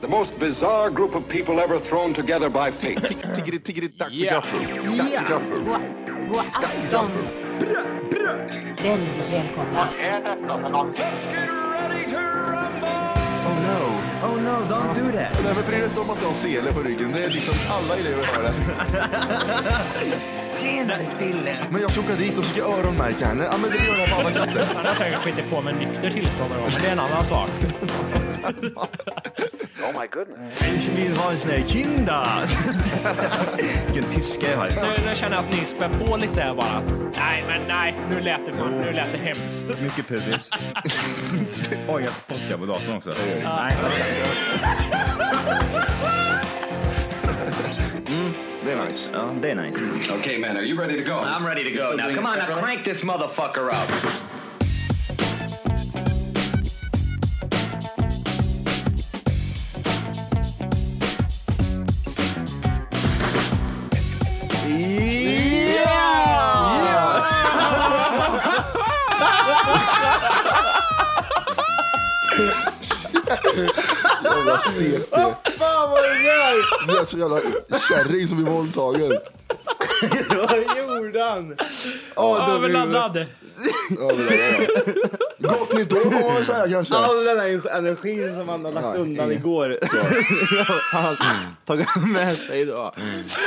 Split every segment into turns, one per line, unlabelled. The most bizarre group of people ever thrown together by fate.
Tiggeri, tiggeri, dack för
Ja.
gaffel. Dack för gaffel.
God afton! Väldigt välkomna.
Oh no.
Oh no, don't do that.
Nej, men bry dig inte om att du har sele på ryggen. Det är liksom alla elever har det.
Senare Dille.
Men jag ska åka dit och ska öronmärka henne. Ja, men det gör jag på alla katter.
Han har säkert skitit på med nykter tillstånd någon gång, men det är en annan sak.
Ich will was ne Kinder. Vilken tyska jag har.
Nu, nu känner jag att ni spär på lite här bara. Nej, men nej, nu lät det, för, nu lät det hemskt.
Mycket pubis. Oj, jag spottar på datorn också. Nej.
Det är nice.
Ja, det är nice.
okay, man, are you ready to go?
I'm ready to go now. Come on, now crank this motherfucker up.
Jävla CP. Vad
Fan vad det där!
Det är så jävla kärring som blir våldtagen.
Vad gjorde han?
Överladdad.
Ja, det där, ja. Gott nytt år får man väl säga kanske.
All den här energin som han har lagt
Ja,
undan
ingen.
igår. Han har tagit med sig idag.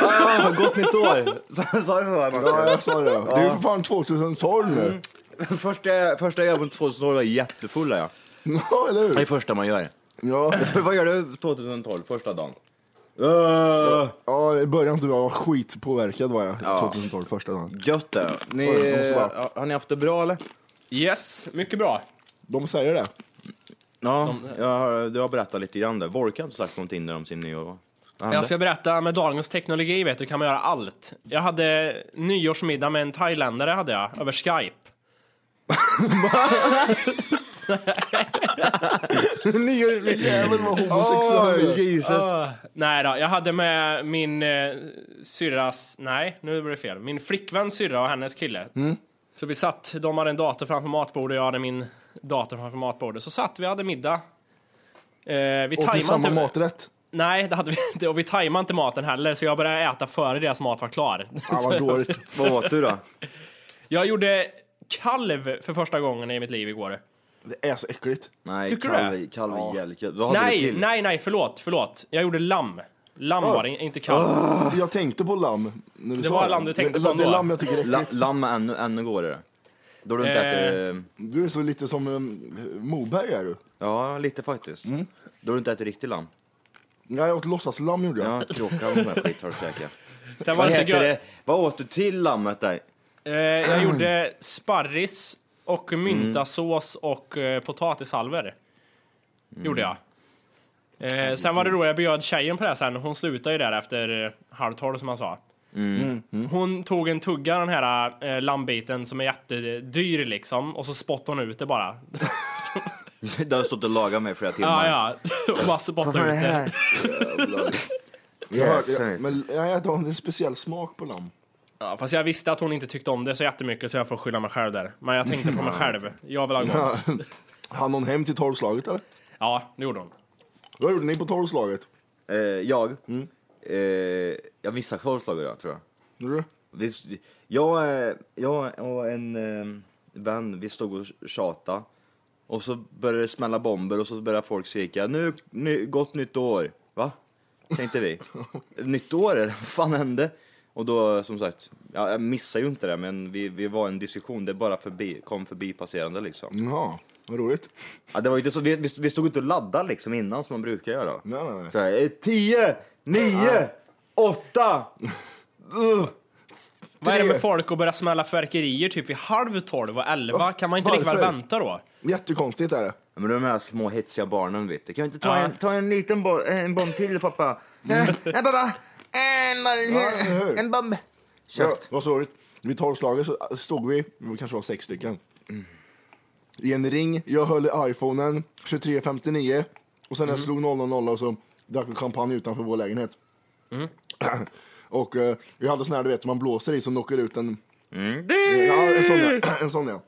Ah, gott nytt år! Så han sa det för mig.
Ja, jag sa det. Det är ju för fan 2012 nu.
Första, första jag gjorde på 2012 var jättefulla jag.
Ja, eller
Det är
hur?
första man gör.
Ja,
Vad gör du 2012, första dagen? Uh,
ja det började inte bra. Jag var skitpåverkad var jag.
Ja.
2012 första dagen.
gött det. Ni,
Oj, det måste vara.
har- har ni haft det bra eller?
Yes, mycket bra.
De säger det.
Ja, jag har, du har berättat lite grann där. Volker har inte sagt någonting där om sin nya...
Jag ska berätta, med dagens teknologi vet du kan man göra allt. Jag hade nyårsmiddag med en thailändare hade jag, över Skype.
Jäveln var homosexuell.
Ah, nej då, jag hade med min eh, syrras, nej nu blir det fel, min flickväns syrra och hennes kille.
Mm.
Så vi satt, de hade en dator framför matbordet och jag hade min dator framför matbordet. Så satt vi och hade middag. Eh, vi
Och till
tajmade
samma
inte,
maträtt.
Nej, det hade vi inte. Och vi tajmade inte maten heller, så jag började äta före deras mat var klar.
Ja, vad dåligt.
Vad åt du då?
Jag gjorde kalv för första gången i mitt liv igår.
Det är så äckligt.
Nej,
Tycker du
kalv,
det?
kalv är jävligt gött. Vad hade du
Nej,
till?
nej, nej, förlåt, förlåt. Jag gjorde lamm. Lamm var det, inte kalv.
Jag tänkte på lamm. När du
Det
sa
var lamm du tänkte
det,
på
Det är
ändå.
lamm jag tycker är
La,
äckligt.
lamm är ännu, ännu godare. Då har du inte
Eh.
ätit...
Du är så lite som um, Moberg är du.
Ja, lite faktiskt.
Mm.
Då har du inte ätit riktigt lamm.
Nej, jag åt låtsaslamm gjorde jag.
Ja, kråka och sån här skit har du käkat.
Sen var
Vad
det så
heter
gött.
det? Vad åt du till lammet där?
Eh, jag gjorde sparris och myntasås och eh, potatishalvor. Gjorde jag. Eh, sen var det roligt, jag bjöd tjejen på det här sen. Hon slutade ju där efter eh, halv tolv som man sa. Hon tog en tugga av den här eh, lammbiten som är jättedyr liksom och så spottade hon ut det bara.
Det har stått och lagat mig i flera timmar.
Ja, ja. Och bara spottade ut det.
Jag hörde,
Jäsar.
jag, men jag äter en speciell smak på lamm.
Ja, fast jag visste att hon inte tyckte om det så jättemycket så jag får skylla mig själv där. Men jag tänkte på mig själv. Jag vill ha gott.
Han någon hem till tolvslaget eller?
Ja, det gjorde hon.
Vad gjorde ni på tolvslaget?
Eh, jag?
Mm.
Eh, jag missade korvslagare jag, tror jag.
Gjorde du?
Vi, s- jag, eh, jag och en eh, vän, vi stod och tjata Och så började det smälla bomber och så började folk skrika nu, ny, gott nytt år. Va? Tänkte vi. nytt år? eller Vad fan hände? Och då som sagt, ja, jag missade ju inte det men vi, vi var i en diskussion, det bara förbi, kom förbi passerande liksom.
Ja, vad roligt.
Ja, det var ju inte så, vi, vi, vi stod inte och laddade liksom innan som man brukar göra.
Nej, nej, nej.
Så här, eh, 10, 9, 8.
Vad är det
Tre.
med folk att börja smälla fyrverkerier typ vid halv tolv och elva?
Varför?
Kan man inte lika väl
Varför?
vänta då?
Jättekonstigt är det.
Men de här små hetsiga barnen vet du. Kan vi inte ta,
Ja. Mm.
en, ta en liten bo- en bomb till pappa? Nej pappa! En,
eller hur?
bomb- en bomb!
Ja,
Köpt.
det var så roligt. Vid tolvslaget så stod vi, vi kanske var sex stycken, i en ring. Jag höll i iPhonen 2359 och sen när
Mhm.
jag slog 000 och så drack vi champagne utanför vår lägenhet.
Mm.
och eh, vi
Mm.
hade sån här du vet, som man blåser i som knockar ut en... Ja, en sån ja. En sån ja.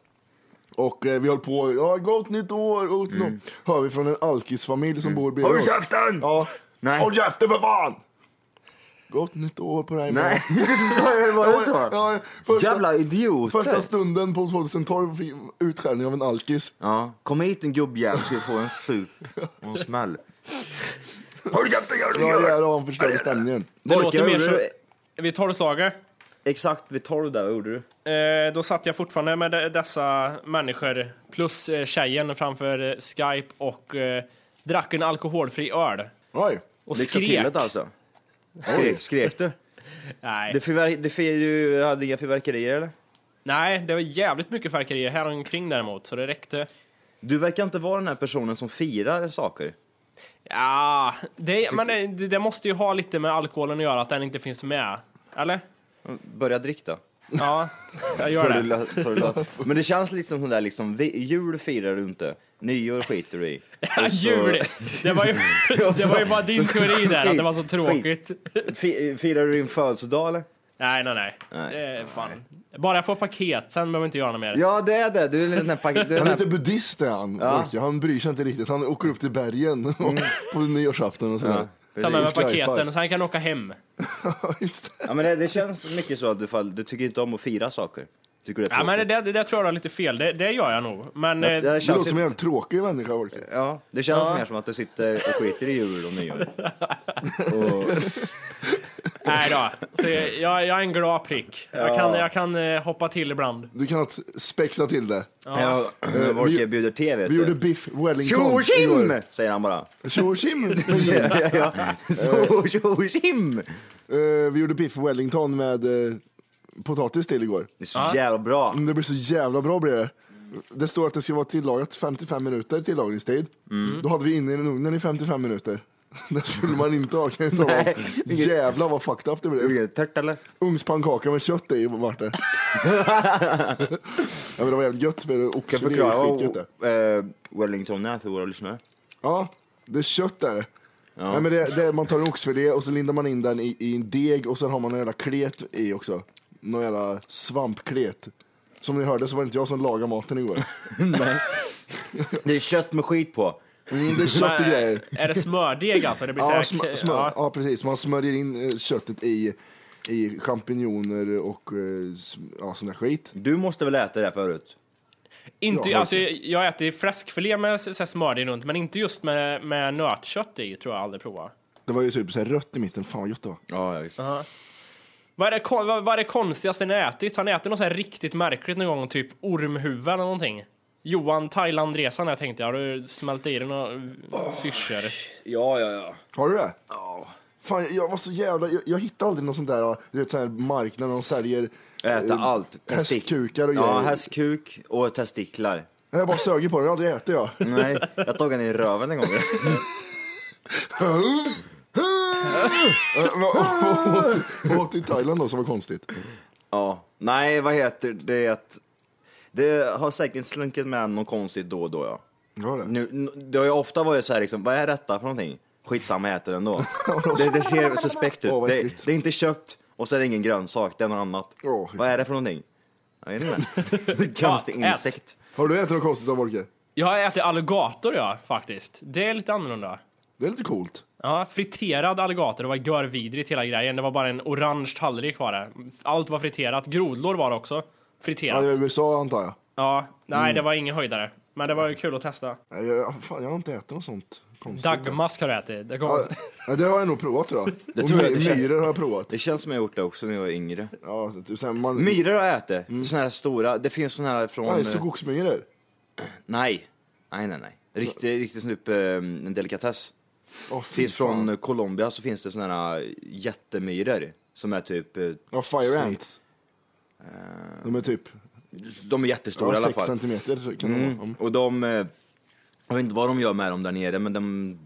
Och eh, vi höll på, ja gott nytt år, gott nytt år. Hör vi från en alkisfamilj som bor bredvid
Mm. Håll
oss.
käften!
Ja.
Nej.
Håll käften för fan! Gott nytt år på dig
Nej,
man.
skojar du? Var det
Ja,
så?
ja, första,
Jävla
Första
idioter!
stunden på 2012 fick utskällning av en alkis.
Ja, kom hit en gubbjävel så ska du få en sup och en smäll. Håll käften, gör
Ja, det har han förstört stämningen.
Det
Volker,
låter mer
gjorde
så...
du-
Vid tolvslaget,
Exakt vid tolv där, vad gjorde du?
eh, då satt jag fortfarande med de- dessa människor plus eh, tjejen framför eh, Skype och eh, drack en alkoholfri öl.
Oj.
Och
Lyxa
skrek.
till det alltså. Skrek, skrek du?
Nej.
Det fyrver- det fyr, du hade inga fyrverkerier eller?
Nej, det var jävligt mycket fyrverkerier här omkring däremot, så det räckte.
Du verkar inte vara den här personen som firar saker.
Ja, det, men det, det måste ju ha lite med alkoholen att göra, att den inte finns med. Eller?
Börja dricka.
Ja, jag gör
Sorry,
det.
la- sorry, la- Men det känns lite som sån där liksom, vi- jul firar du inte, nyår skiter du i.
Ja,
Och så-
Jul! Det var, ju, det var ju bara din teori där, att det var så tråkigt.
Fi- Firar du din födelsedag eller?
Nej, nej, nej.
Nej.
Det är fan. Bara jag får paket, sen behöver jag inte göra något mer.
Ja det är det, du är den här paket... Du är
Han är
den
lite
här...
buddhist är han, Volker. Han bryr sig inte riktigt. Han åker upp till bergen
Mm.
på nyårsafton och sådär.
Ta med mig
Skypar.
paketen, sen kan jag åka hem.
Ja. Just det.
Ja men det, det känns mycket så att du, fall, du tycker inte om att fira saker. Tycker det är
Ja, men det,
tråkigt.
det, det där tror jag du har lite fel. Det, det gör jag nog. Men
det,
eh,
det
Du låter
känns,
som en
ju-
jävligt tråkig människa, Volker.
ja, det känns mer som att du sitter och skiter i jul och nyår.
nej då. Så jag, jag jag är en glad prick. Jag kan, jag kan eh, hoppa till ibland.
Du kan att spexa till det.
Ja.
Eh,
Volker
vi,
bjuder te vet
vi gjorde
du.
biff
Tjo
wellington
och tjim!
igår.
Säger han bara.
Tjo och tjim!
Ja, ja. Så, Tjo och tjim!
Eh, Vi gjorde biff wellington med eh, potatis till igår.
Det är så jävla bra.
Mm, Det blir så jävla bra blir det. Det står att det ska vara tillagat 55 minuter tillagningstid.
Mm.
Då hade vi inne i ugnen i 55 minuter. Det skulle man inte ha kan jag tala om. Jävlar vad fucked up det blev.
Tärt eller?
Ugnspannkaka med kött i vart det. ja, men det var jävligt gött med
Kan
oxfilé. Det
jag förklara
är skitgött det.
vad eh, Wellington är för våra lyssnare?
Ja, det är kött där. Nej, men det, det, man tar en oxfilé och så lindar man in den i, i en deg och sen har man en jävla klet i också. Någon jävla svampklet. Som ni hörde så var det inte jag som lagade maten igår.
Det är kött med skit på.
Mm, det är kött och
Men, eh,
grejer.
Är det smördeg alltså? Det blir
Ja,
så
smör,
här,
smör.
ja.
ja, precis. Man smörjer in eh, köttet i, i champinjoner och eh, sm- ja, sån där skit.
Du måste väl äta det här förut?
Inte,
Ja,
alltså, jag, jag äter fläskfilé med så här smördeg runt, men inte just med, med nötkött i, tror jag aldrig provar.
Det var ju typ så här rött i mitten. Fan vad gött det var.
Ja, ja, visst.
Vad är, det, kon- vad, vad är det konstigaste ni har ätit? Har ni ätit något så här riktigt märkligt någon gång? Typ ormhuvud eller någonting? Johan, Thailandresan här tänkte jag. Har du smält i dig några oh, syrsor?
Ja, ja, ja.
Har du det? Ja. Fan, jag var så jävla... Jag, jag hittade aldrig någon sån där, du vet, sån här marknad där de säljer...
Äta
eh,
allt. Testik-
Hästkukar och
Ja,
grejer.
hästkuk och testiklar.
Jag bara sög på den, jag har aldrig ätit jag.
Nej, jag tog den i röven en gång.
Men jag åt- jag åt i Thailand då, som var konstigt.
ja. Nej, vad heter det? Det har säkert slunkit med något konstigt då och då, ja.
Var det?
Nu, nu- det har ju ofta varit så här liksom, vad är detta för någonting? Skitsamma, jag äter den ändå. det, det ser suspekt ut.
Åh, vad
det,
äckligt.
det är inte köpt och så är det ingen grönsak, det är något annat.
Åh,
vad är det för någonting? Jag vet inte. Konstig
Ät, ät.
insekt.
Har du ätit något konstigt då, Volke?
Jag har ätit alligator, ja, faktiskt. Det är lite annorlunda.
Det är lite coolt.
Ja, friterad alligator. Det var görvidrigt hela grejen. Det var bara en orange tallrik var det. Allt var friterat. Grodlor var det också.
Ja,
Friterat.
det
Ja,
är USA antar jag. Mm.
nej, det var ingen höjdare. Men det var ju kul att testa.
Nej, Jag, fan, jag har inte ätit något sånt konstigt.
Dagmask har jag ätit. Det kom...
Ja, det har jag nog provat tror jag. Det
tror
och
jag
my-
det känns-
myror har jag provat.
Det känns som jag gjort det också när jag var yngre.
Ja, så att- så här, man...
Myror har jag ätit, såna här stora. Det finns såna här från...
Mm.
eh,
Nej, skogsmyror.
nej. nej, nej, nej. Riktig, riktigt sån typ eh, en delikatess.
Åh, fy
Finns
fan.
från Colombia så finns det såna här eh, jättemyror som är typ... eh,
Ja, fire ants. De är typ
De är jättestora
ja,
Eh, i alla
6
fall.
centimeter så kan de
Mm.
vara. Mm.
Och de, eh, jag vet inte vad de gör med dem där nere, men de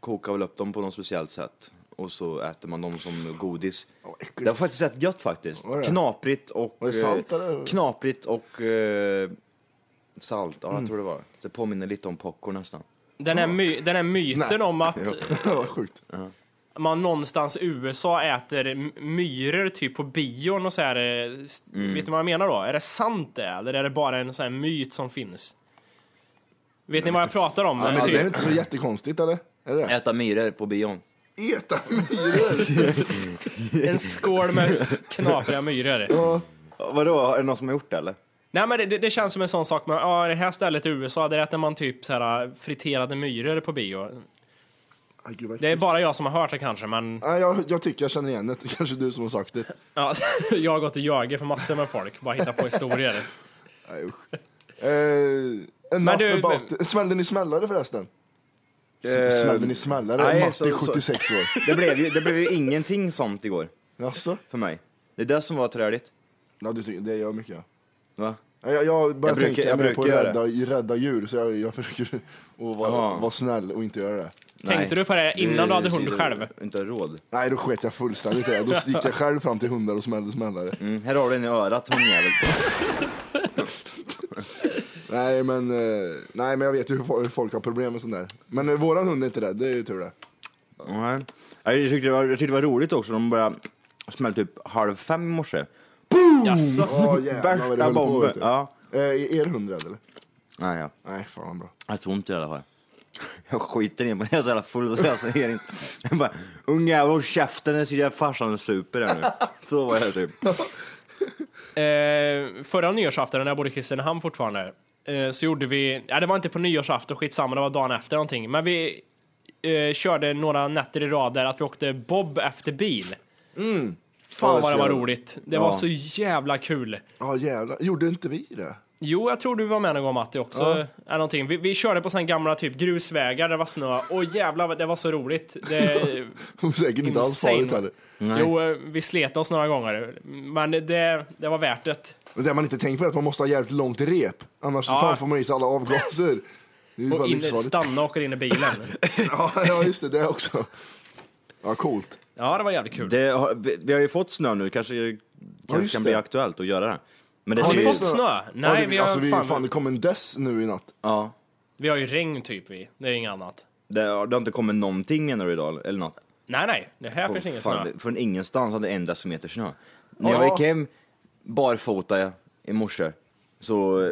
kokar väl upp dem på något speciellt sätt. Och så äter man dem som godis.
Åh, äckligt.
Det har faktiskt rätt gött faktiskt.
Var det?
Knaprigt och...
Var det
eh,
salt, eller?
Knaprigt och eh, salt, ja jag tror det var. Det påminner lite om popcorn nästan.
Den här, my, den här myten om att
Ja, vad sjukt.
man någonstans i USA äter m- myror typ på bion och så här. eh, s-
Mm.
Vet ni vad jag menar då? Är det sant det? Eller är det bara en sån här myt som finns? Vet ni vad jag pratar om?
Ja,
eller
men det är
typ?
väl inte så jättekonstigt eller? Är det det?
Äta myror på bion.
Äta myror!
En skål med knapriga myror.
Vadå, är det någon som har gjort det eller?
Nej men det- det, det känns som en sån sak med, ja det här stället i USA, där äter man typ så här friterade myror på bio.
Ah, gud, vad
Det är bara jag som har hört det kanske, men
Nej, jag, jag tycker jag känner igen det. Det är kanske du som har sagt det. Eh,
ja, jag har gått och ljugit för massor med folk, bara hittat på historier.
Nej, usch. Eh, enough
du-
about it. Smällde ni smällare förresten?
Eh,
Smällde ni smällare?
nej,
Matti
så- så-
76 år.
Det blev ju, det blev ju ingenting sånt igår
Jaså?
för mig. Det är det som var träligt.
Ja, du tycker, det gör mycket. ja.
Va?
Nej, Jag, jag börjar
Jag brukar-
tänka
jag
mer på
brukar göra
rädda, rädda djur, så jag, jag försöker att vara,
Jaha.
vara snäll och inte göra det.
Tänkte du på det innan du hade hund själv?
Mm.
Mm.
Inte råd.
Nej, då sket jag fullständigt i det. Då gick jag själv fram till hundar och smällde smällare.
Mm, här har du den i örat hundjävel.
Nej, men, eh, nej, men jag vet ju hur fo- hur folk har problem med sånt där. Men eh, våran hund är inte rädd, det är ju tur det.
Nej. Jag tyckte, det var, jag tyckte det var roligt också, de började smälla typ halv fem i morse. Boom!
Jaså?
Ja, jävlar vad det
Värsta
höll på.
bomben.
vet du.
Ja.
Eh, Är er hund rädd eller?
Nej, ja.
Nej, fan vad bra.
Jag tror inte i alla fall. Jag skiter i på det, jag är så jävla full så jag ser inte. Jag bara, unga håll käften, jag tycker jag farsan super här nu. Så var jag typ.
Eh, förra nyårsafton, när jag bodde i Kristinehamn fortfarande, eh, så gjorde vi, ja det var inte på nyårsafton, skitsamma, det var dagen efter någonting, men vi eh, körde några nätter i rad där att vi åkte bob efter bil.
Mm.
Fan vad det var roligt. Det var
Ja.
så jävla kul.
Ja, jävlar. Gjorde inte vi det?
Jo, jag tror du var med någon gång Matti också. Eller någonting. Vi, vi körde på sån här gamla typ grusvägar där det var snö. Och jävlar, vad- det var så roligt. Det,
Säkert inte alls
Insane.
farligt heller.
jo, eh, vi slet oss några gånger. Men det, det var värt det.
Men det man inte tänker på är att man måste ha jävligt långt rep. Annars
Ja.
fan får man i sig alla avgaser. Det är ju
Och
bara
in,
livsfarligt.
stanna och åker in i bilen.
Ja, ja, just det. Det också. Ja, coolt.
Ja, det var jävligt kul.
Det har, vi, vi har ju fått snö nu, kanske det kanske
just
kan
det.
bli aktuellt att göra det. Men det
Har
ser
ni
ju-
fått snö? Nej,
ja,
vi har,
alltså, vi,
fan,
fan, det kom en dess nu i natt.
Ja.
vi har ju regn typ vi. Det är inget annat.
Det, har- det har inte kommit någonting menar du idag, eller något?
Nej, nej. Det här finns
Åh,
ingen
fan,
snö.
det- Från ingenstans hade en decimeter snö. När
Ja.
jag gick hem barfota i morse, så eh,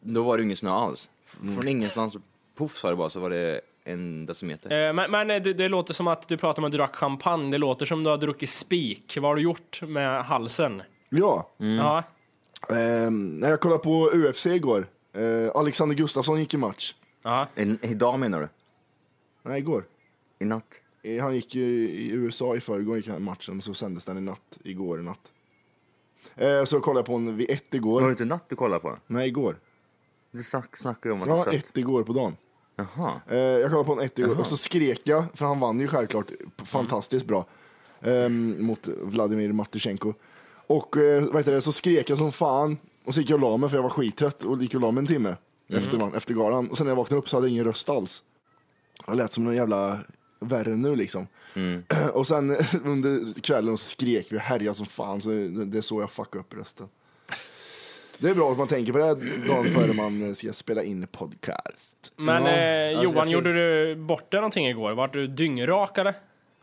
då var det ju ingen snö alls. Från
Mm.
ingenstans, så poff sa det bara, så var det en decimeter.
Eh, Men, men eh, det, det låter som att du pratar om att du drack champagne. Det låter som att du har druckit spik. Vad har du gjort med halsen?
Ja.
Mm.
Ja.
Ehm, när jag kollade på UFC igår. Eh, Alexander Gustafsson gick i match.
Ja.
En, idag menar du?
Nej, igår.
I natt?
Eh, Han gick ju i USA i förrgår gick han matchen och så sändes den i natt. Igår i natt. Eh, så kollade jag på en vid ett igår.
Var det inte natt du kollade på?
Nej, igår.
Du snack, snackade ju om att
Ja,
du satt-
ett igår på dagen.
Jaha.
Eh, jag kollade på en ett igår och så skrek jag, för han vann ju självklart fantastiskt bra ehm, mot Vladimir Matusjenko. Och eh, vad heter det, så skrek jag som fan och så gick jag och la mig för jag var skittrött och gick och la mig en timme efter, man, efter galan. Och sen när jag vaknade upp så hade jag ingen röst alls. Jag lät som en jävla värre nu liksom. och sen under kvällen så skrek vi och härjade som fan så det, det är så jag fuckade upp rösten. Det är bra att man tänker på det här dagen före man eh, ska spela in podcast.
Men eh,
alltså,
Johan,
jag får-
gjorde du bort dig någonting igår? Vart du dyngrak eller?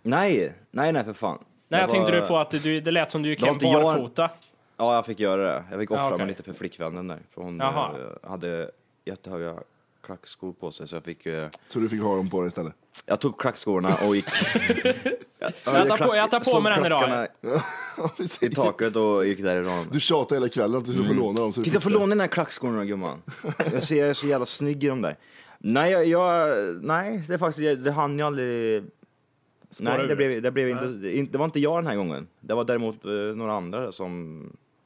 Nej, nej, nej för fan.
Nej,
Det
jag tänkte
var-
du på att du, det lät som du gick
Det var
hem
inte jag.
barfota.
Ja, jag fick göra det. Jag fick offra
Ja, okej.
mig lite för flickvännen där. För hon
Jaha.
eh, hade jättehöga klackskor på sig, så jag fick... eh,
Så du fick ha dem på dig istället?
Jag tog klackskorna och gick...
Jag tar på- jag tar på
slog
mig den idag.
klackarna I taket och gick därifrån.
Du tjatade hela kvällen att du skulle få låna dem. Så du
Titta,
fick
få
det.
låna den här klackskorna gumman. Jag ser, jag är så jävla snygg i dem där. Nej, jag, jag nej, det är faktiskt, jag- det hann jag aldrig... Nej, det
ur.
blev, det blev inte, det inte- det var inte jag den här gången. Det var däremot eh, några andra som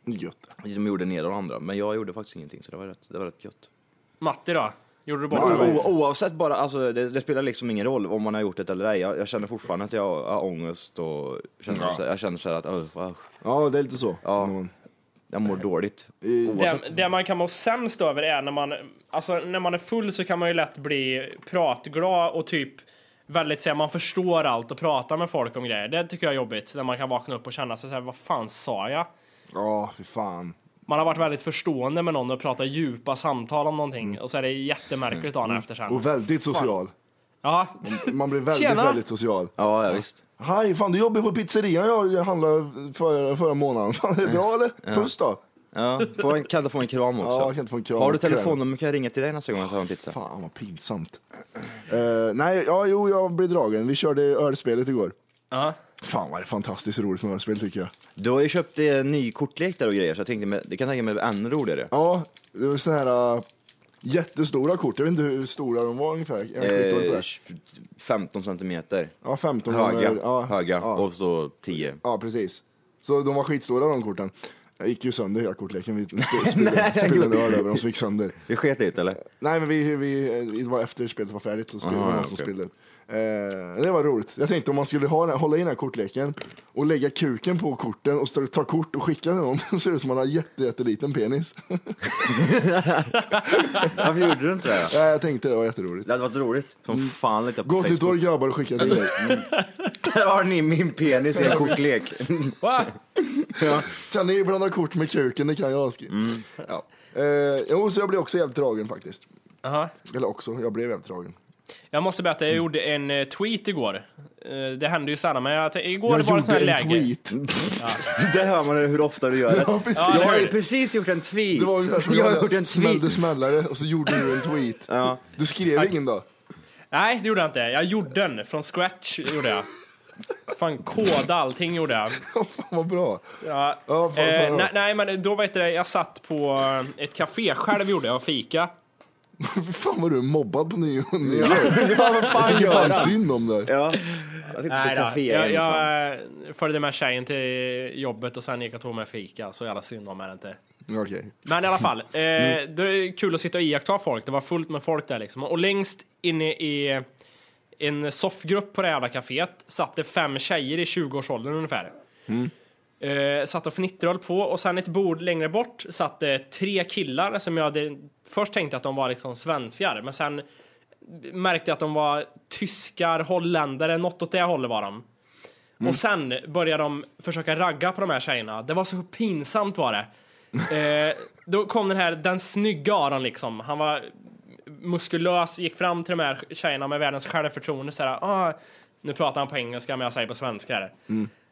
Gött.
de gjorde ner de andra, men jag gjorde faktiskt ingenting så det var rätt, det var rätt gött.
Matti då? Gjorde du bort
Ja,
dig?
men-
O, oavsett bara, alltså, det, det spelar liksom ingen roll om man har gjort det eller ej. Jag, jag känner fortfarande att jag har ångest och känner,
Ja.
så, jag känner så här att "Åh, fan,
Ja, det är lite så.
Ja.
När man-
jag mår dåligt.
Det, det man kan må sämst över är när man, alltså när man är full så kan man ju lätt bli pratglad och typ väldigt såhär, man förstår allt och pratar med folk om grejer. Det tycker jag är jobbigt, när man kan vakna upp och känna sig såhär, vad fan sa jag?
Ja, fy fan.
Man har varit väldigt förstående med
Mm.
någon och pratat djupa samtal om någonting och så är det jättemärkligt dagen efter sen.
Och väldigt social.
Ja,
Man blir väldigt,
Tjena.
väldigt social.
Ja, ja visst.
Hej, fan du jobbar på pizzerian jag jag handlade förra, förra månaden. Fan, är det bra eller? Puss då.
Ja, får en, kan du få en kram också?
Ja, kan du få en kram?
Har du telefonnummer kan jag ringa till dig nästa gång jag tar en pizza.
Fan vad pinsamt. Eh, nej, ja, jo, jag blev dragen. Vi körde ölspelet igår.
ja.
Fan vad det är fantastiskt roligt med ölspel tycker jag.
Du har ju köpt eh, ny kortlek där och grejer så jag tänkte, med, det kan jag tänka mig blir ännu roligare.
Ja, det var sådana här eh, jättestora kort. Jag vet inte hur stora de var ungefär. Jag är skitdålig på det.
Eh, 15 centimeter
Ja, 15
höga,
gånger- Ja,
höga
Ja,
och så 10.
ja, precis. Så de var skitstora de korten. Jag gick ju sönder hela kortleken. Vi sp- spelade spelade öl över dem så gick sönder.
Det sket lite eller?
Nej, men vi, vi, det var efter spelet var färdigt så spelade
Aha,
vi någon
ja,
som
okej.
spelade. Eh, det var roligt. Jag tänkte om man skulle ha den här, hålla i den här kortleken och lägga kuken på korten och stå- ta kort och skicka till någon. Då ser det ut som man har jätte, jätteliten penis.
Varför gjorde du inte det?
Ja, jag tänkte det var jätteroligt.
Det hade varit roligt. Som fan lite på
Gott nytt år
Facebook. Mm.
grabbar och skicka till er.
Där har ni min penis i en kortlek.
Va?
Kan ni blanda kort med kuken? Det kan jag. Skri-
Mm.
Ja. Eh, jo, så jag blev också jävligt dragen faktiskt.
Jaha.
Eller också, jag blev jävligt dragen.
Jag måste berätta,
Mm.
jag gjorde en eh, tweet igår. Eh, Det hände ju sällan, men jag, tänkte- igår
Jag
var det sån här
gjorde en
läge.
tweet.
Där hör man hur ofta du gör det.
Ja, precis.
jag har ju precis gjort en tweet.
Det var ungefär som
jag har gjort en tweet.
smällde smällare och så gjorde du en tweet.
Ja.
Du skrev ingen då?
Nej, det gjorde jag inte. Jag gjorde den från scratch. gjorde jag. Fan, koda allting gjorde jag.
Fan vad bra.
Ja.
Ja, fan,
eh,
fan,
nej, nej, men då vet jag, jag satt på eh, ett café själv gjorde jag och fika.
Fy fan vad du är mobbad på nyår. Ja, jag tycker fan synd om dig.
Ja. Jag sitter på
Nej, då.
kafé liksom.
Jag,
ensam.
jag eh, följde med tjejen till jobbet och sen gick jag och tog med fika. Så jävla synd om är det inte.
Okej.
Men i alla fall, eh, det är kul att sitta och iaktta folk. Det var fullt med folk där liksom. Och längst inne i en soffgrupp på det jävla kaféet satt det fem tjejer i 20-årsåldern ungefär. Eh, satt och fnittrade höll på och sen ett bord längre bort satt det tre killar som jag hade, först tänkte att de var liksom svenskar men sen märkte jag att de var tyskar, holländare, något åt det hållet var de. Och sen började de försöka ragga på de här tjejerna. Det var så pinsamt var det. Eh, då kom den här, den snygga Aron liksom. Han var muskulös, gick fram till de här tjejerna med världens självförtroende såhär, ah, nu pratar han på engelska men jag säger på svenska här.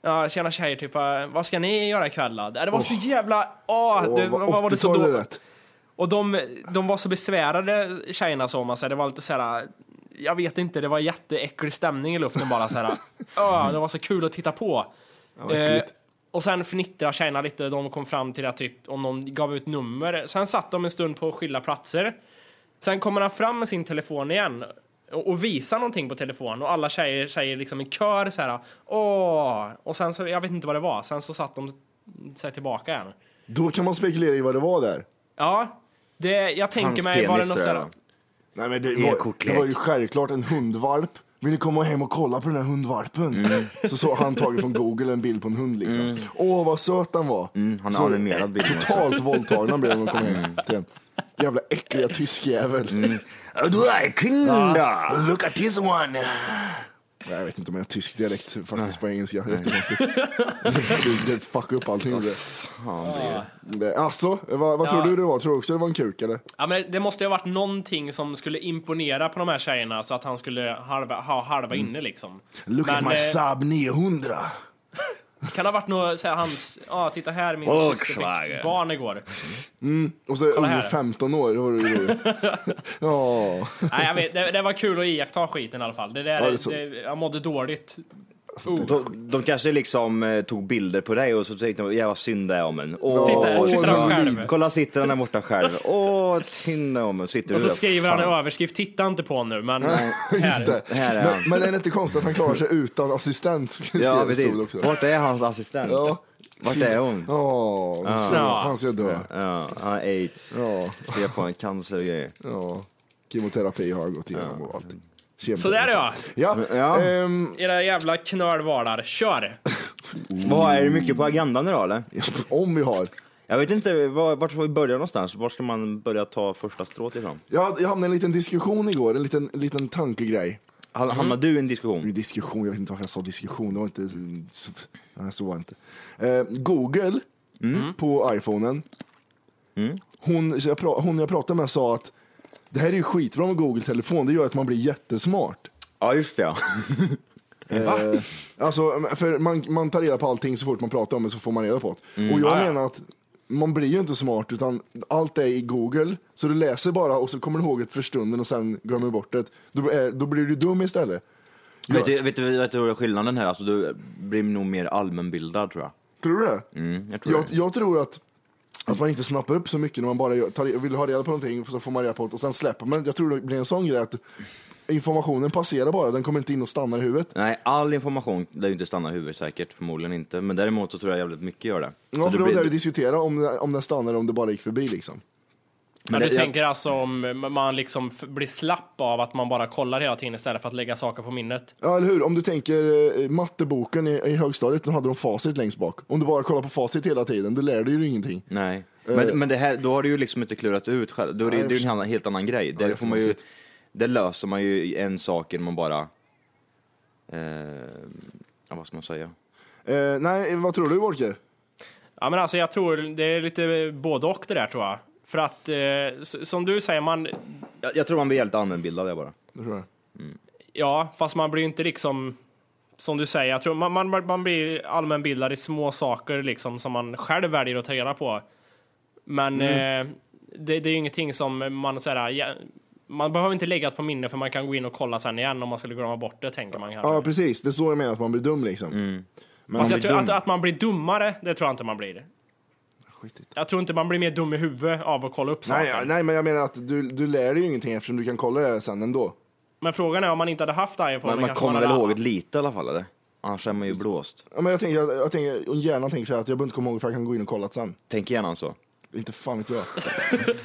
Ja, tjena tjejer, typ, "Ah, vad ska ni göra ikväll då? Det var så jävla, ah, det,
Åh,
vad var det så
80-tal är
då?
rätt.
Och de, de var så besvärade tjejerna så om man säger, det var lite såhär, jag vet inte, det var jätteäcklig stämning i luften bara såhär, ah, det var så kul att titta på. Eh, och sen fnittrade tjejerna lite, de kom fram till att typ om någon gav ut nummer. Sen satt de en stund på skilda platser. Sen kommer han fram med sin telefon igen och, och visar någonting på telefonen och alla tjejer säger liksom i kör så här åh. Och sen så, jag vet inte vad det var, sen så satt de sig tillbaka igen.
Då kan man spekulera i vad det var där.
Ja, det, jag tänker
Hans
mig, var det
penis,
något
tror jag
sådär?
Nej, men det,
Det är
var,
kortlek.
det var ju självklart en hundvalp. Vill ni komma hem och kolla på den här hundvalpen?
Mm.
Så såg han tagit från google en bild på en hund liksom. Åh vad söt han var.
Mm, han
Så-
har animerad bild.
Totalt våldtagen blev han när han kom hem till en jävla äckliga tyskjävel.
Mm. Like ja.
Look at this one! Nej, jag vet inte om jag har tysk dialekt faktiskt på engelska. Jättekonstigt. Det fuck upp allting. det. Det- Alltså, vad, vad tror
Ja.
du det var? Tror du också det var en kuk eller?
Ja, men det måste ju ha varit någonting som skulle imponera på de här tjejerna så att han skulle halva, ha halva inne liksom.
Mm. Look
Men,
at my
eh,
Saab 900.
Kan det ha varit något, såhär, hans, ja titta här min syster
Volkswagen.
fick barn igår.
Och så är
kolla
under
här.
15 år, det var ju roligt. ja,
Nej, jag vet, det, det var kul att iaktta skiten i alla fall. Det där,
det är
det
så.
jag mådde dåligt. Oh.
De, de kanske liksom eh, tog bilder på dig och så tänkte de, jävla vad synd det är om en. Åh,
Titta,
åh,
sitter han
kolla-
själv.
Kolla, sitter han där borta själv. Åh, tinna om en. Sitter
Och
du
så
där?
skriver han i
Fan.
överskrift, titta inte på nu, men
just
här.
det.
Här är han.
Men, men är det inte konstigt att han klarar sig utan assistent?
Ja,
Skrev det
precis.
stod också.
Vart är hans assistent?
Ja.
Vart är hon?
Ja, hon ska-
Ja.
han ska dö.
Ja, han har aids.
Ja. Oh.
Ser på en cancer och grejer.
Ja, kemoterapi har jag gått igenom och allting. Kemo.
Så där ja,
Ja,
Ja.
ehm,
era jävla knölvalar. Kör!
Vad är det mycket på agendan idag eller?
om vi har.
Jag vet inte, var, vart får vi börja någonstans? Var ska man börja ta första strået ifrån?
Jag, jag hamnade i en liten diskussion igår, en liten, liten tankegrej.
Ham-
Mm.
Hamnar du i en diskussion?
En Diskussion, jag vet inte varför jag sa diskussion, det var inte... Så, nej, så var det inte. Eh, Google på iPhonen. Hon, så jag pra, hon jag pratade med sa att det här är ju skitbra med Google-telefon, det gör att man blir jättesmart.
Ja, just det. ja.
Alltså, för man, man tar reda på allting så fort man pratar om det så får man reda på det. Och jag
Ja, ja.
menar att man blir ju inte smart utan allt är i Google. Så du läser bara och så kommer du ihåg det för stunden och sen glömmer du bort det. Då, är, då blir du dum istället.
Vet, du, vet, du, vet du vad är skillnaden här? Alltså, du blir nog mer allmänbildad tror jag.
Tror du det?
Mm, jag tror
Jag,
det.
jag tror att, att man inte snappar upp så mycket när man bara gör- tar, vill ha reda på någonting så får man reda på det och sen släpper man Jag tror det blir en sån grej att informationen passerar bara, den kommer inte in och stannar i huvudet.
Nej, all information lär ju inte stanna i huvudet säkert, förmodligen inte. Men däremot så tror jag jävligt mycket gör det. Så
Ja, för det var
blir-
det vi diskuterade, om, det- om den stannar eller om det bara gick förbi liksom.
Men
det-
du
jag-
tänker alltså om man liksom f- blir slapp av att man bara kollar hela tiden istället för att lägga saker på minnet?
Ja, eller hur? Om du tänker eh, matteboken i, i högstadiet, då hade de facit längst bak. Om du bara kollar på facit hela tiden, då lär du ju ingenting.
Nej, men, men det här, då har du ju liksom inte klurat ut själv. Då är det,
Eh. Nej,
det är ju en annan- helt annan grej.
det
där,
är
får man ju,
konstigt.
där löser man ju en sak genom att bara... Eh, ja, vad ska man säga?
Eh, nej, vad tror du Wolke?
Ja, men alltså jag tror det är lite både och det där tror jag. För att eh, s- som du säger, man,
Jag, jag tror man blir helt allmänbildad där bara.
Det tror jag.
ja, fast man blir ju inte liksom som du säger, jag tror man, man, man blir allmänbildad i små saker liksom som man själv väljer att ta reda på. Men eh, det, det är ju ingenting som man sådär, ja, man behöver inte lägga det på minne för man kan gå in och kolla sen igen om man skulle glömma bort det tänker man kanske.
Ja, precis. Det är så jag menar, att man blir dum liksom. Men
Mm. Fast
man
jag
blir
tror
dum.
att, att man blir dummare, det tror jag inte man blir.
Skitigt.
Jag tror inte man blir mer dum i huvudet av att kolla upp saker.
Nej, ja, nej, men jag menar att du, du lär dig ju ingenting eftersom du kan kolla det sen ändå.
Men frågan är om man inte hade haft iPhone.
Men man
kanske
kommer väl
hade-
ihåg det lite i alla fall, eller? Annars är man ju blåst.
Ja, men jag tänker, jag, jag tänker, och hjärnan tänker så här att jag behöver inte komma ihåg för jag kan gå in och kolla det sen.
Tänk gärna så.
Inte fan vet jag.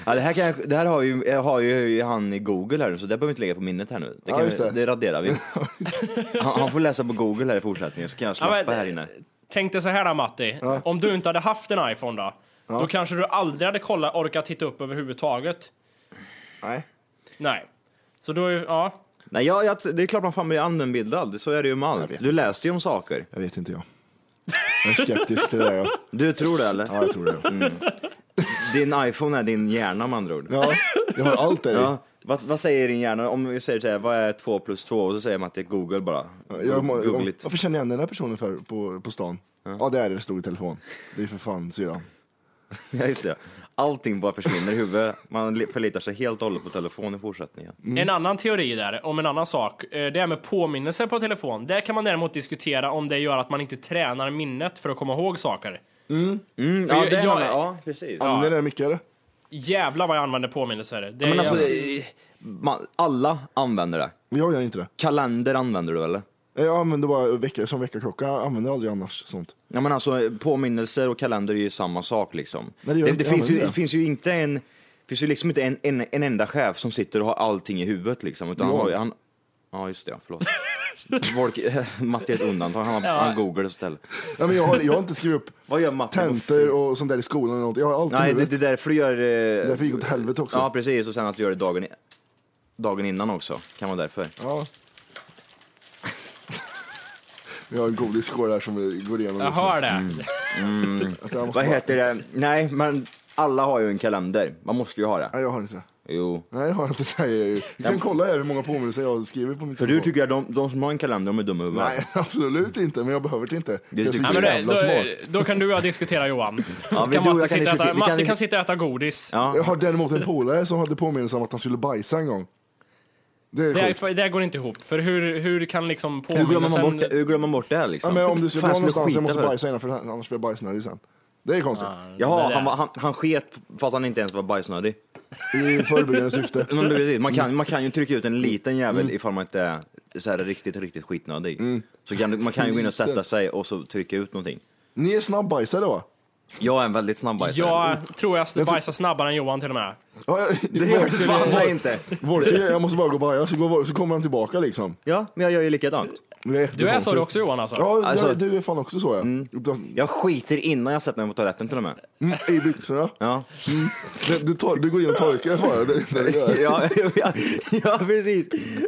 Ja, det här, kan jag, det här har, ju, jag har ju han i Google här nu, så det behöver vi inte lägga på minnet här nu. Det,
Ja,
kan vi,
just det.
det. raderar vi. Han, han får läsa på Google här i fortsättningen, så kan jag
Ja,
släppa
men,
här inne.
Tänk dig så här då Matti. Om du inte hade haft en iPhone då. Då kanske du aldrig hade kollat, orkat titta upp överhuvudtaget.
nej.
Nej. Så då, är ju- ja.
Nej, jag, jag, det är klart man fan blir allmänbildad, så är det ju med allt. Du läste ju om saker.
Jag vet inte jag. Jag är skeptisk till det där jag.
Du tror det eller?
Ja, jag tror det.
Mm.
ja.
Din iPhone är din hjärna med andra ord.
Ja, jag har allt där i.
Ja. Vad, vad säger din hjärna? Om vi säger så här, vad är 2 plus 2? Och så säger man att det är Google bara.
Jag, må-
Googligt.
varför känner jag igen den här personen för, på, på stan? Ja. det är det, det stod i telefon. Det är för fan syrran.
Ja, just det. Allting bara försvinner i huvudet. Man li- förlitar sig helt och hållet på telefon i fortsättningen.
Mm.
En annan teori där, om en annan sak. eh, Det är med påminnelser på telefon. Där kan man däremot diskutera om det gör att man inte tränar minnet för att komma ihåg saker.
Mm,
För
ja,
jag-
det är
jag-
man- ja, precis.
Ja. Använder det mycket eller?
Jävlar vad jag använder påminnelser. Det är
Men alltså, man, alla använder det.
Jag gör inte det.
Kalender använder du eller?
Jag använder bara vecka, som veckaklocka, jag använder aldrig annars sånt.
Ja, men alltså, påminnelser och kalender är ju samma sak liksom.
Nej, det
det,
gör
det,
inte- ja,
finns,
men
ju,
det-
det finns ju inte en, finns ju liksom inte en, en, en enda chef som sitter och har allting i huvudet liksom. Utan han
Jo.
har ju- han, ja just det, ja, förlåt. Folk, Matti är ett undantag, han, har han googlar istället.
Nej, men jag, har, jag har inte skrivit upp
Vad gör Matti?
tentor och sånt där i skolan eller något. Jag har allt i
Nej, det,
huvudet.
det är därför du gör... Eh,
Därför gick det åt helvete också.
Ja precis, och sen att du gör det dagen, i- dagen innan också. Kan vara därför.
Ja. Vi har en godisskål här som vi går igenom.
jag
just nu.
hör det.
Att jag, måste
Vad heter det? Nej, men alla har ju en kalender. Man måste ju ha det.
Nej, jag har inte det.
Jo.
Nej, jag har inte det. Vi kan kolla här hur många påminnelser jag skriver på min
För du tycker att de, de som har en kalender, de är dumma i huvudet?
Nej, absolut inte. Men jag behöver det inte.
Det
jag är så
Ja,
tycker
men det,
jävla
då,
smart.
då kan du och jag diskutera Johan.
vi-
kan
du och
Matti,
jag kan
sitta och äta,
diskutera- vi
Matti
kan
kan,
dis-
sitta och äta godis.
Ja.
Jag har däremot en polare som hade påminnelse om att han skulle bajsa en gång. Det är
Det,
sjukt.
är, det här går inte ihop, för hur, hur kan liksom
Hur glömmer,
påminnelsen...
man bort det, hur glömmer man bort det här, liksom?
Ja, men om du ska
Fan,
dra
jag
någonstans, jag
skita
måste
för det.
bajsa innan för annars blir jag bajsnödig sen. Det är konstigt.
Jaha,
Det
han,
där.
var- han, han sket fast han inte ens var bajsnödig.
I förebyggande syfte.
Men precis, man, kan, man kan ju trycka ut en liten jävel
Mm.
ifall man inte är så här riktigt, riktigt skitnödig. Så kan, man kan ju gå in och sätta sig och så trycka ut någonting.
Ni är snabbbajsare va?
Jag är en väldigt snabb bajsare.
Jag tror jag bajsar snabbare än Johan till och med.
Ja, jag,
Mm. Det gör du fan bara inte!
Volke, jag måste bara gå och baja, så, går, så kommer han tillbaka liksom.
Ja, men jag gör ju likadant.
Det
Du är så du
jättekonstigt.
också Johan alltså?
Ja,
Alltså-
jag, du är fan också så ja.
Jag skiter innan jag sätter mig på toaletten till och med.
Mm, I byxorna.
Ja,
Du, du, tor- du går in och torkar bara. Det, det, det, gör.
ja, ja, ja precis.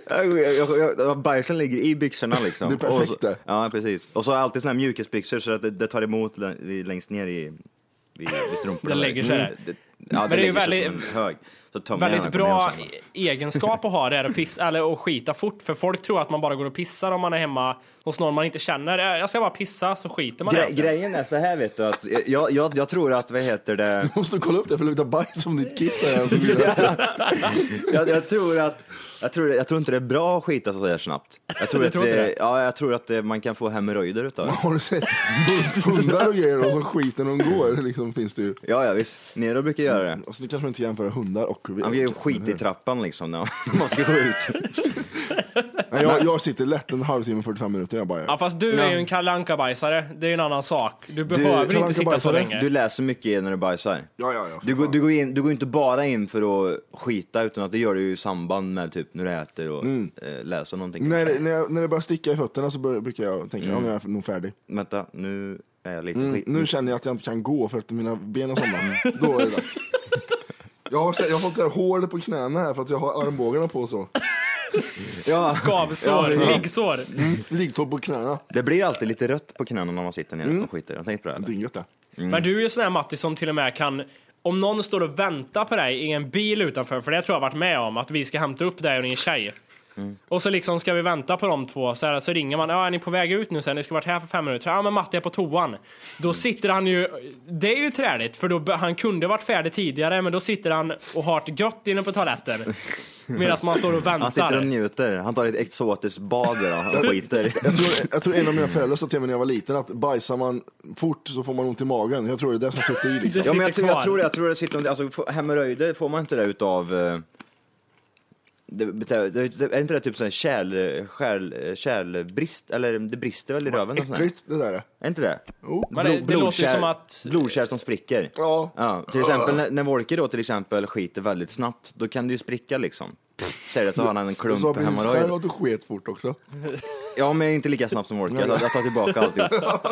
Jag, jag, jag, jag, bajsen ligger i byxorna liksom.
Det är perfekt
och så,
det.
Ja, precis. Och så har jag alltid såna här mjukisbyxor så att det, det tar emot lä- i- längst ner i vid, vid strumporna. Mm.
Det lägger sig där.
Det, Ja,
det är ju
lägger sig
väldigt-
som en hög. Så tömmer jag
Väldigt
gärna när jag
bra
kommer hem sen.
egenskap att ha det här att pissa, eller att skita fort. För folk tror att man bara går och pissar om man är hemma hos någon man inte känner. Eh, Jag ska bara pissa så skiter man i
Gre
allt.
grejen är så här vet du, att jag, jag, jag tror att, vad heter det,
Måste du kolla upp det för det luktar bajs om ditt kiss är
jag, jag tror att, jag tror, jag tror inte det är bra att skita så där snabbt. Jag tror,
Du
att,
tror inte
det-
det?
Ja, jag tror att eh, man kan få hemorrojder utav det.
Har du sett hundar och grejer då, som skiter när de går? Liksom, finns det ju.
Ja, ja visst. Nero brukar göra det.
Alltså, nu kanske man inte jämför hundar och vi-
Han blir ju skit i trappan liksom när man ska gå ut.
Nej, jag, jag sitter lätt en halvtimme, 45 minuter. Jag bara,
Ja fast du är ju en Kalle Anka-bajsare. Det är ju en annan sak. Du behöver
Kalle
inte sitta så
Anka-bajsare,
länge.
Du läser mycket när du bajsar.
ja, ja, ja. för
Du, går-
fan.
du, går in, du går inte bara in för att skita utan att det gör du ju i samband med typ när du äter och eh, läser någonting.
när, Mm. det- när, jag, när det börjar sticka i fötterna så bör, brukar jag tänka, ja, nu är jag nog färdig.
Vänta, nu är jag lite skit.
Mm, Nu känner jag att jag inte kan gå för att mina ben har somnat. Då är det dags. Jag har, så- jag har fått så här hål på knäna här för att jag har armbågarna på och så.
Ja,
Skavsår,
Ja, ja.
liggsår.
Liggtåg på knäna.
det blir alltid lite rött på knäna när man sitter ner
Mm.
och skiter. Jag tänkte på det. eller?
Dyngött det.
Mm.
Men du är ju sån här Matti som till och med kan om någon står och väntar på dig i en bil utanför, för det tror jag har varit med om, att vi ska hämta upp dig och din tjej.
Mm.
Och så liksom ska vi vänta på de två, så, här, så ringer man, ja är ni på väg ut nu sen? Ni ska varit här för fem minuter. Ja men Matti är på toan.
Mm.
Då sitter han ju, det är ju träligt, för då, be- han kunde varit färdig tidigare, men då sitter han och har det gött inne på toaletten. Medan man står och
Han sitter och
väntar.
njuter. Han tar ett exotiskt bad gör han och skiter.
Jag tror, jag tror en av mina föräldrar sa till mig när jag var liten att bajsar man fort så får man ont i magen. Jag tror det är det som sitter i liksom.
Det
Ja, men jag,
sitter
tror, jag
kvar.
tror det, jag tror det sitter, alltså få- hemorrojder får man inte det utav eh, det, bete- det, det, är inte det typ sån här kärl, kärl, kärlbrist, eller det brister väl i röven? och sånt där?
Äckligt det där är.
Är inte det?
Jo.
Men det- det låter ju som att-
Blodkärl som spricker.
Ja.
Ja, till exempel när, när Wolke då till exempel skiter väldigt snabbt, då kan det ju spricka liksom. Säger det så har han en
Du sa
klump
precis själv
hemorrojd.
att du sket fort också.
Ja, men jag är inte lika snabb som Wolke, jag, tar- jag tar tillbaka alltihop.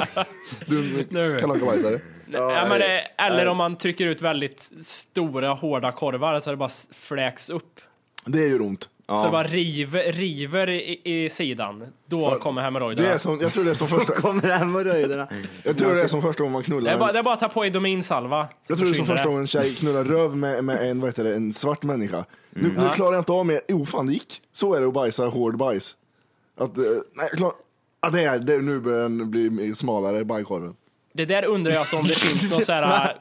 Du
Nu.
kan bajsare.
Ja, men, eh, eller om man trycker ut väldigt stora hårda korvar så det bara s- fläks upp.
Det är ju ont.
Så det bara river, river i, i sidan. Då kommer
Det
hemorrojderna.
är
Det,
som, jag tror det är som första,
Kommer hemorrojderna?
jag tror det är som första gången man knullar.
är bara-
En,
det är bara att ta på Idominsalva. så
jag tror det är som
försvinner
första gången en tjej knullar röv med, med en, vad heter det, en svart människa.
Mm.
Nu, nu klarar jag inte av mer. Jo, fan det gick. Så är det att bajsa hård bajs. Att, eh, nej, jag klarar... Ja, det är, det, nu börjar den bli smalare, bajkorven.
Det där undrar jag så om det finns någon så här,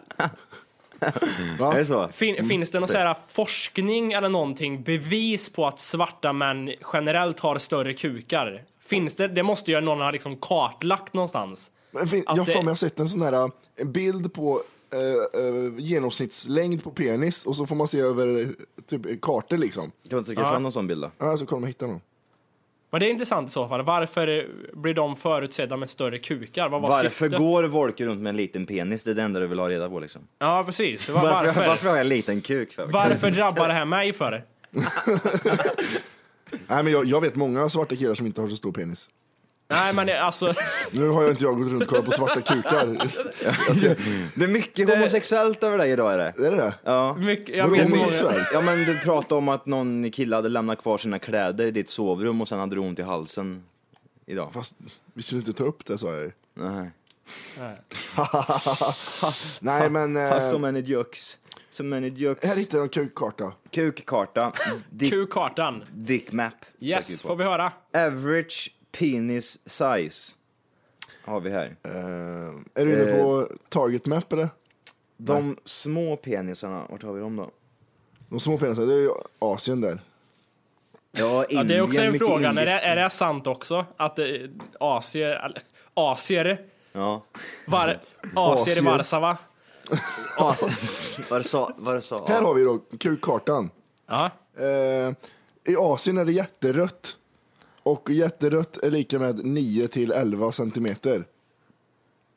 Är det så?
fin,
Mm.
finns det någon så här forskning eller någonting, bevis på att svarta män generellt har större kukar? Finns det? Det måste ju någon ha liksom kartlagt någonstans.
Men fin,
Att
jag har
det-
för mig jag har sett en sån här eh, bild på eh, eh, genomsnittslängd på penis och så får man se över eh, typ kartor liksom.
Kan man trycka fram någon sån bild då?
Ja, så kommer man hitta någon.
Men det är intressant i så fall. Varför eh, blir de förutsedda med större kukar? Vad var
Varför
syftet?
går Wolke runt med en liten penis? Det är det enda du vill ha reda på liksom.
Ja, precis. Var, varför?
Varför,
Varför,
har jag en liten kuk? För?
drabbar det här mig för?
Nej, men jag, jag vet många svarta killar som inte har så stor penis.
Nej, men det- alltså,
Nu har jag inte jag gått runt och kollat på svarta kukar.
Det är mycket homosexuellt över dig idag är det.
Är det det?
Ja.
mycket, jag
Vadå,
vet
homosexuell?
många.
Svärt.
ja men du pratade om att någon kille hade lämnat kvar sina kläder i ditt sovrum och sen hade du ont i halsen idag.
Fast vi skulle inte ta upp det sa jag ju.
Nej.
Nej men,
Ha, so
eh,
many jokes. So many
här
jokes.
hittar jag en kukkarta.
Eh, Kukkarta. Dick,
Q-kartan.
dick map.
Yes,
söker
får vi höra.
på. Average penis size. Har vi här.
Eh, är du inne
Eh.
på target map eller?
De små penisarna, vart har vi dem då?
De små penisarna, det är ju Asien där.
Ja, Indien,
Ja, det är också en
mycket
fråga. Är
indisk-
det, är det sant också? Att eh, asier... eller, Asier?
Ja.
Var, asier i
Asier.
Warszawa?
Alltså, Vad du sa? Vad du sa?
Här har vi då kukkartan.
Ja.
Eh, I Asien är det jätterött. Och jätterött är lika med 9 till 11 centimeter.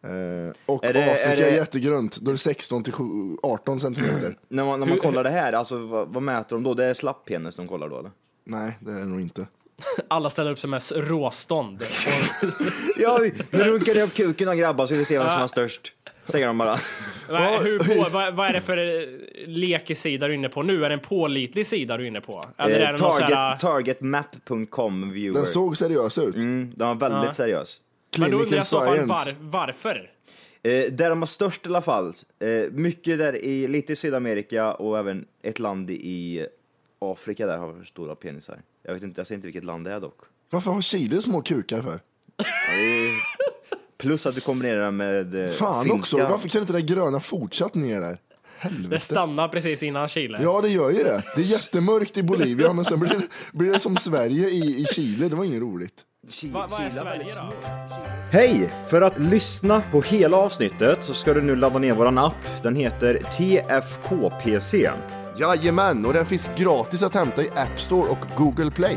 Eh, och
Är det- är
Afrika är,
det-
jättegrönt, då är det 16 till 7 18 centimeter.
När man, när man kollar det här, alltså, vad, vad mäter de då? Det är slapp penis de kollar då eller?
Nej, det är det nog inte.
Alla ställer upp sig med råstånd.
Ja, nu runkar ni upp kuken och grabbar så vi ser vem som har störst. Säger de bara.
Vad- Hur på, vad, vad är det för eh, lekig sida du är inne på nu? Är det en pålitlig sida du är inne på? Eller är
Eh,
det någon så här...
target, targetmap.com viewer.
Den såg seriös ut.
Mm, den var väldigt seriös.
Men då
Clinical
undrar jag i så fall
Science.
var, varför?
Eh, där de var störst i alla fall, eh, mycket där i, lite i Sydamerika och även ett land i Afrika där har stora penisar. Jag vet inte, jag ser inte vilket land det är dock.
Varför har Chile små kukar för?
Plus att du kombinerar det med eh,
Fan
finska.
också, varför kan inte det gröna fortsatt ner där?
Det stannar precis innan Chile.
Ja, det gör ju det. Det är jättemörkt i Bolivia, men sen blir det, blir det som Sverige i, i Chile. Det var inget roligt.
Va- Vad är Sverige då?
Hej! För att lyssna på hela avsnittet så ska du nu ladda ner våran app. Den heter TFKPC.
Jajamän, och den finns gratis att hämta i App Store och Google Play.